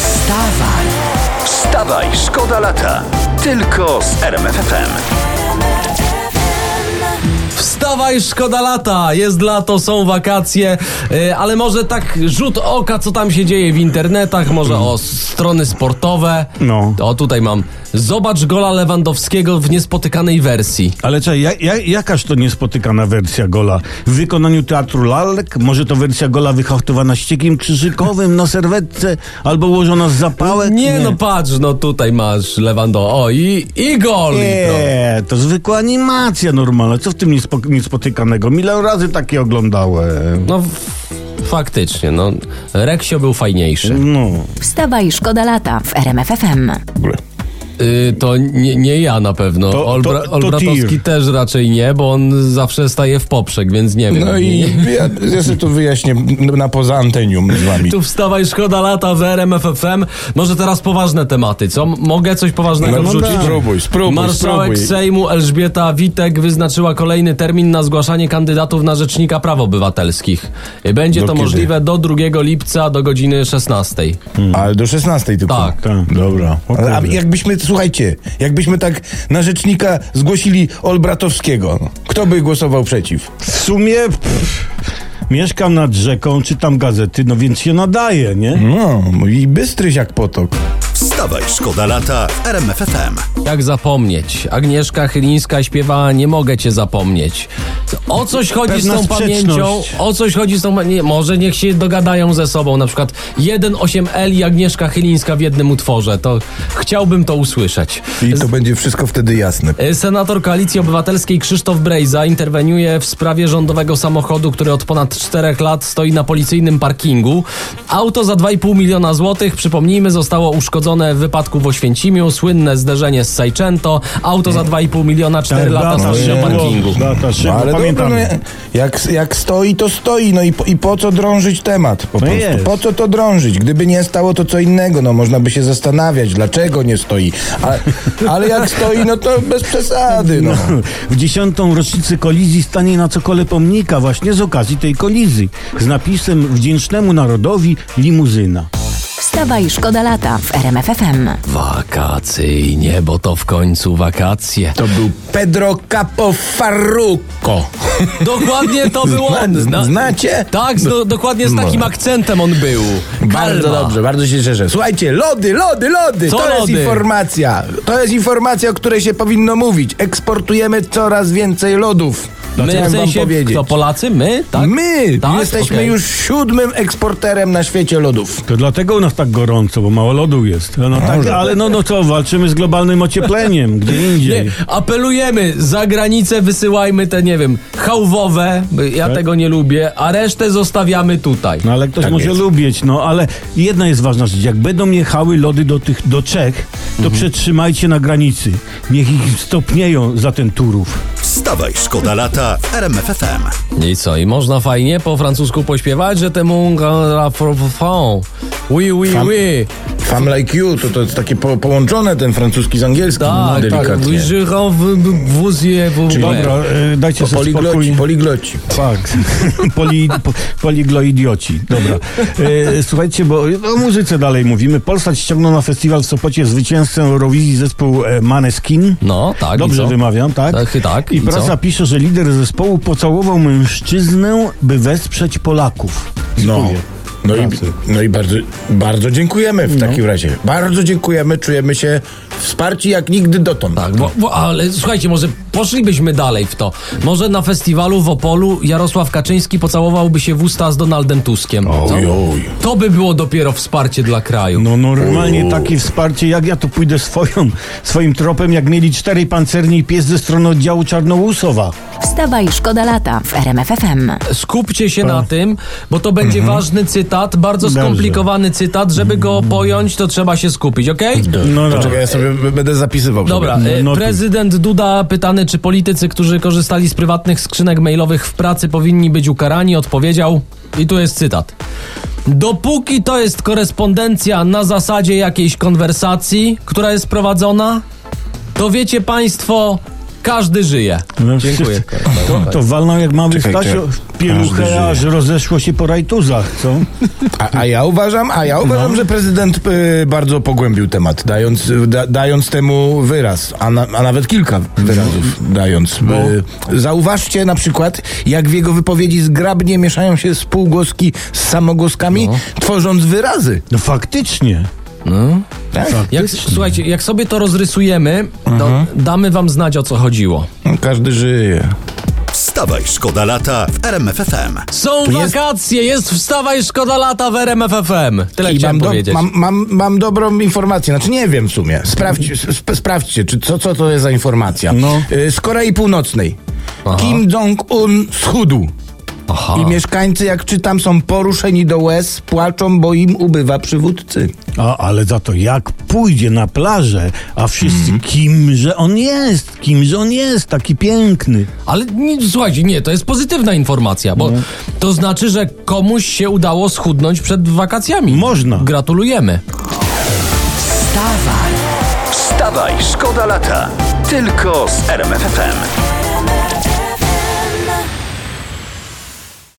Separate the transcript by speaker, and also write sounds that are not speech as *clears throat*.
Speaker 1: Wstawaj,
Speaker 2: Wstawaj, szkoda lata. Tylko z RMFFM.
Speaker 3: Wstawaj, szkoda lata! Jest lato, są wakacje, y, ale może tak rzut oka, co tam się dzieje w internetach, może o strony sportowe.
Speaker 4: No.
Speaker 3: O, tutaj mam. Zobacz gola Lewandowskiego w niespotykanej wersji.
Speaker 4: Ale czekaj, ja, ja, jakaż to niespotykana wersja gola? W wykonaniu teatru lalek? Może to wersja gola wyhaftowana ściekiem krzyżykowym na serwetce? Albo ułożona z zapałek?
Speaker 3: Nie, no patrz, no tutaj masz Lewando. O, i, i gol! No.
Speaker 4: Nie, to zwykła animacja normalna. Co w tym niespo- niespotykanego? Milion razy takie oglądałem.
Speaker 3: no f- faktycznie, no. Reksio był fajniejszy.
Speaker 4: No.
Speaker 1: wstawaj, szkoda lata w RMF FM.
Speaker 3: Y, to nie, nie ja na pewno.
Speaker 4: To- to-
Speaker 3: Olbra,
Speaker 4: to
Speaker 3: Olbratowski
Speaker 4: tir.
Speaker 3: też raczej nie, bo on zawsze staje w poprzek, więc nie wiem.
Speaker 5: No i ja, ja sobie to wyjaśnię no, na poza antenium z wami.
Speaker 3: Tu wstawaj, szkoda lata w RMF FM. Może teraz poważne tematy, co? M- Mogę coś poważnego
Speaker 5: No, no
Speaker 3: wrzucić?
Speaker 5: tak. Spróbuj, spróbuj,
Speaker 3: Marszałek
Speaker 5: spróbuj.
Speaker 3: Sejmu Elżbieta Witek wyznaczyła kolejny termin na zgłaszanie kandydatów na Rzecznika Praw Obywatelskich. Będzie
Speaker 5: Do
Speaker 3: to
Speaker 5: kiedy?
Speaker 3: możliwe do 2 lipca do godziny 16.
Speaker 5: Ale do 16 tylko.
Speaker 3: Tak.
Speaker 4: Tak.
Speaker 5: Dobra.
Speaker 4: O
Speaker 5: Ale, a
Speaker 4: kurde.
Speaker 5: jakbyśmy, słuchajcie, jakbyśmy tak na rzecznika zgłosili Olbratowskiego, kto by głosował przeciw?
Speaker 4: W sumie... Pff, mieszkam nad rzeką, czytam gazety, no więc się nadaje, nie?
Speaker 5: No, i bystryś jak potok.
Speaker 2: Wstawaj, szkoda lata w RMFFM.
Speaker 3: Jak zapomnieć? Agnieszka Chylińska śpiewała Nie mogę cię zapomnieć. O coś chodzi
Speaker 4: Pewna
Speaker 3: z tą
Speaker 4: sprzeczność.
Speaker 3: pamięcią. O coś chodzi z tą pa- nie, Może niech się dogadają ze sobą. Na przykład 1.8L i Agnieszka Chylińska w jednym utworze. To chciałbym to usłyszeć.
Speaker 5: I to będzie wszystko wtedy jasne.
Speaker 3: Y, Senator Koalicji Obywatelskiej Krzysztof Brejza interweniuje w sprawie rządowego samochodu, który od ponad 4 lat stoi na policyjnym parkingu. Auto za 2,5 miliona złotych, przypomnijmy, zostało uszkodzone w wypadku w Oświęcimiu, słynne zderzenie z Sajczęto. Auto za 2,5 miliona 4
Speaker 5: Tak,
Speaker 3: lata
Speaker 4: Data
Speaker 3: stoi na
Speaker 4: szybko,
Speaker 3: parkingu.
Speaker 4: Data szybko,
Speaker 5: No, ale dobra,
Speaker 4: pamiętam.
Speaker 5: no, jak, jak stoi, to stoi. No i po, i po co drążyć temat? Po prostu.
Speaker 4: jest.
Speaker 5: Po co to drążyć? Gdyby nie stało, to co innego. No można by się zastanawiać, dlaczego nie stoi. *laughs* A, ale jak stoi, no to bez przesady. No.
Speaker 4: *clears throat* W dziesiątą rocznicę kolizji stanie na cokole pomnika właśnie z okazji tej kolizji z napisem Wdzięcznemu Narodowi limuzyna.
Speaker 1: Wstawaj, szkoda lata w RMF FM.
Speaker 3: Wakacyjnie, bo to w końcu wakacje.
Speaker 5: To był Pedro Capofarruco.
Speaker 3: Dokładnie to był on.
Speaker 5: Zna, znacie?
Speaker 3: Tak, z, do, dokładnie z takim akcentem on był.
Speaker 5: Bardzo
Speaker 3: Kalma.
Speaker 5: dobrze, bardzo się cieszę. Słuchajcie, lody, lody, lody!
Speaker 3: Co
Speaker 5: to jest
Speaker 3: lody?
Speaker 5: informacja. To jest informacja, o której się powinno mówić. Eksportujemy coraz więcej lodów.
Speaker 3: My w
Speaker 5: Chciałem
Speaker 3: sensie,
Speaker 5: wam Znaczy, powiedzieć.
Speaker 3: kto Polacy? My? Tak?
Speaker 5: My
Speaker 3: Tak?
Speaker 5: jesteśmy
Speaker 3: Okej.
Speaker 5: już siódmym eksporterem na świecie lodów.
Speaker 4: To dlatego u nas tak gorąco, bo mało lodu jest. No tak,
Speaker 5: Może.
Speaker 4: ale no, no co, walczymy z globalnym ociepleniem, *laughs* gdzie indziej.
Speaker 3: Nie, apelujemy, za granicę wysyłajmy te, nie wiem, hałwowe, bo ja tego nie lubię, a resztę zostawiamy tutaj.
Speaker 4: No ale ktoś
Speaker 5: Tak
Speaker 4: może
Speaker 5: jest.
Speaker 4: lubić, no ale jedna jest ważna rzecz. Jak będą jechały lody do tych, do Czech, to przetrzymajcie na granicy. Niech ich stopnieją za ten Turów.
Speaker 2: Wstawaj, szkoda lata w RMFFM.
Speaker 3: I co, i można fajnie po francusku pośpiewać, że temu... Oui, oui,
Speaker 5: Fam-
Speaker 3: oui.
Speaker 5: Fam like you, to, to jest takie po, połączone ten francuski z angielskim, no,
Speaker 3: Tak, tak.
Speaker 5: delikatnie.
Speaker 3: Oui, je rends vous- vous y- vous-
Speaker 4: Dobra, e, dajcie
Speaker 5: Po-
Speaker 4: sobie spokój.
Speaker 5: Poligloci, poligloci.
Speaker 4: Tak, *laughs* Poli, po, poligloidioci. Dobra. E, słuchajcie, bo o muzyce dalej mówimy. Polsat ściągnął na festiwal w Sopocie zwycięzcę Eurowizji zespół e, Maneskin.
Speaker 3: No, tak. i
Speaker 4: Dobrze
Speaker 3: co?
Speaker 4: wymawiam, tak?
Speaker 3: Tak, tak,
Speaker 4: I,
Speaker 3: i
Speaker 4: prasa
Speaker 3: co?
Speaker 4: pisze, że lider zespołu pocałował mężczyznę, by wesprzeć Polaków.
Speaker 5: No.
Speaker 4: Dziękuję.
Speaker 5: No i,
Speaker 4: Pracy.
Speaker 5: no i bardzo, bardzo dziękujemy
Speaker 3: No.
Speaker 5: w takim razie. Bardzo dziękujemy, czujemy się wsparci jak nigdy dotąd.
Speaker 3: Tak, bo, bo, ale słuchajcie, może poszlibyśmy dalej w to. Może na festiwalu w Opolu Jarosław Kaczyński pocałowałby się w usta z Donaldem Tuskiem. Co?
Speaker 5: Oj, oj.
Speaker 3: To by było dopiero wsparcie dla kraju.
Speaker 4: No normalnie takie wsparcie, jak ja tu pójdę swoją, swoim tropem, jak mieli czterej pancerni i pies ze strony oddziału Czarnołusowa.
Speaker 1: Wstawaj, szkoda lata w RMF FM.
Speaker 3: Skupcie się na tym, bo to będzie ważny cytat, bardzo
Speaker 4: Dobrze.
Speaker 3: skomplikowany cytat. Żeby go pojąć, to trzeba się skupić, okej?
Speaker 4: No
Speaker 5: To
Speaker 4: dobra.
Speaker 5: czekaj, ja sobie b- będę zapisywał.
Speaker 3: Dobra,
Speaker 5: Sobie.
Speaker 3: e,
Speaker 4: notuj.
Speaker 3: prezydent Duda pytany, czy politycy, którzy korzystali z prywatnych skrzynek mailowych w pracy powinni być ukarani, odpowiedział, i tu jest cytat. Dopóki to jest korespondencja na zasadzie jakiejś konwersacji, która jest prowadzona, to wiecie państwo, Każdy żyje.
Speaker 4: No,
Speaker 3: Dziękuję.
Speaker 4: To, to walną jak mamy
Speaker 5: Czekaj,
Speaker 4: Stasio
Speaker 5: Każdy
Speaker 4: pieluchę,
Speaker 5: żyje.
Speaker 4: aż rozeszło się po rajtuzach, co?
Speaker 5: A, a ja uważam, a ja uważam, że prezydent y, bardzo pogłębił temat, dając, y, da, dając temu wyraz, a, na, a nawet kilka wyrazów dając. Y, zauważcie na przykład, jak w jego wypowiedzi zgrabnie mieszają się spółgłoski z samogłoskami, tworząc wyrazy.
Speaker 4: No faktycznie.
Speaker 5: Tak?
Speaker 3: Jak, słuchajcie, jak sobie to rozrysujemy, to
Speaker 5: Mhm.
Speaker 3: damy wam znać o co chodziło.
Speaker 5: Każdy żyje.
Speaker 2: Wstawaj, szkoda lata w RMFFM.
Speaker 3: Są wakacje, jest wstawaj, szkoda lata w RMF FM. Tyle
Speaker 5: I
Speaker 3: chciałem
Speaker 5: mam, do,
Speaker 3: powiedzieć.
Speaker 5: mam, mam, mam dobrą informację, znaczy nie wiem w sumie. Sprawdź,
Speaker 3: Mhm.
Speaker 5: sp sprawdźcie, czy, co, co to jest za informacja.
Speaker 4: No.
Speaker 5: Y, Z Korei Północnej. Kim Jong-un schudł.
Speaker 3: Aha.
Speaker 5: I mieszkańcy, jak czytam, są poruszeni do łez, płaczą, bo im ubywa przywódcy.
Speaker 4: A, ale za to jak pójdzie na plażę, a wszyscy
Speaker 5: Mhm.
Speaker 4: kimże on jest, kimże on jest, taki piękny.
Speaker 3: Ale nie, słuchajcie, nie, to jest pozytywna informacja, bo to znaczy, że komuś się udało schudnąć przed wakacjami.
Speaker 4: Można.
Speaker 3: Gratulujemy.
Speaker 2: Wstawaj, szkoda lata. Tylko z RMFFM.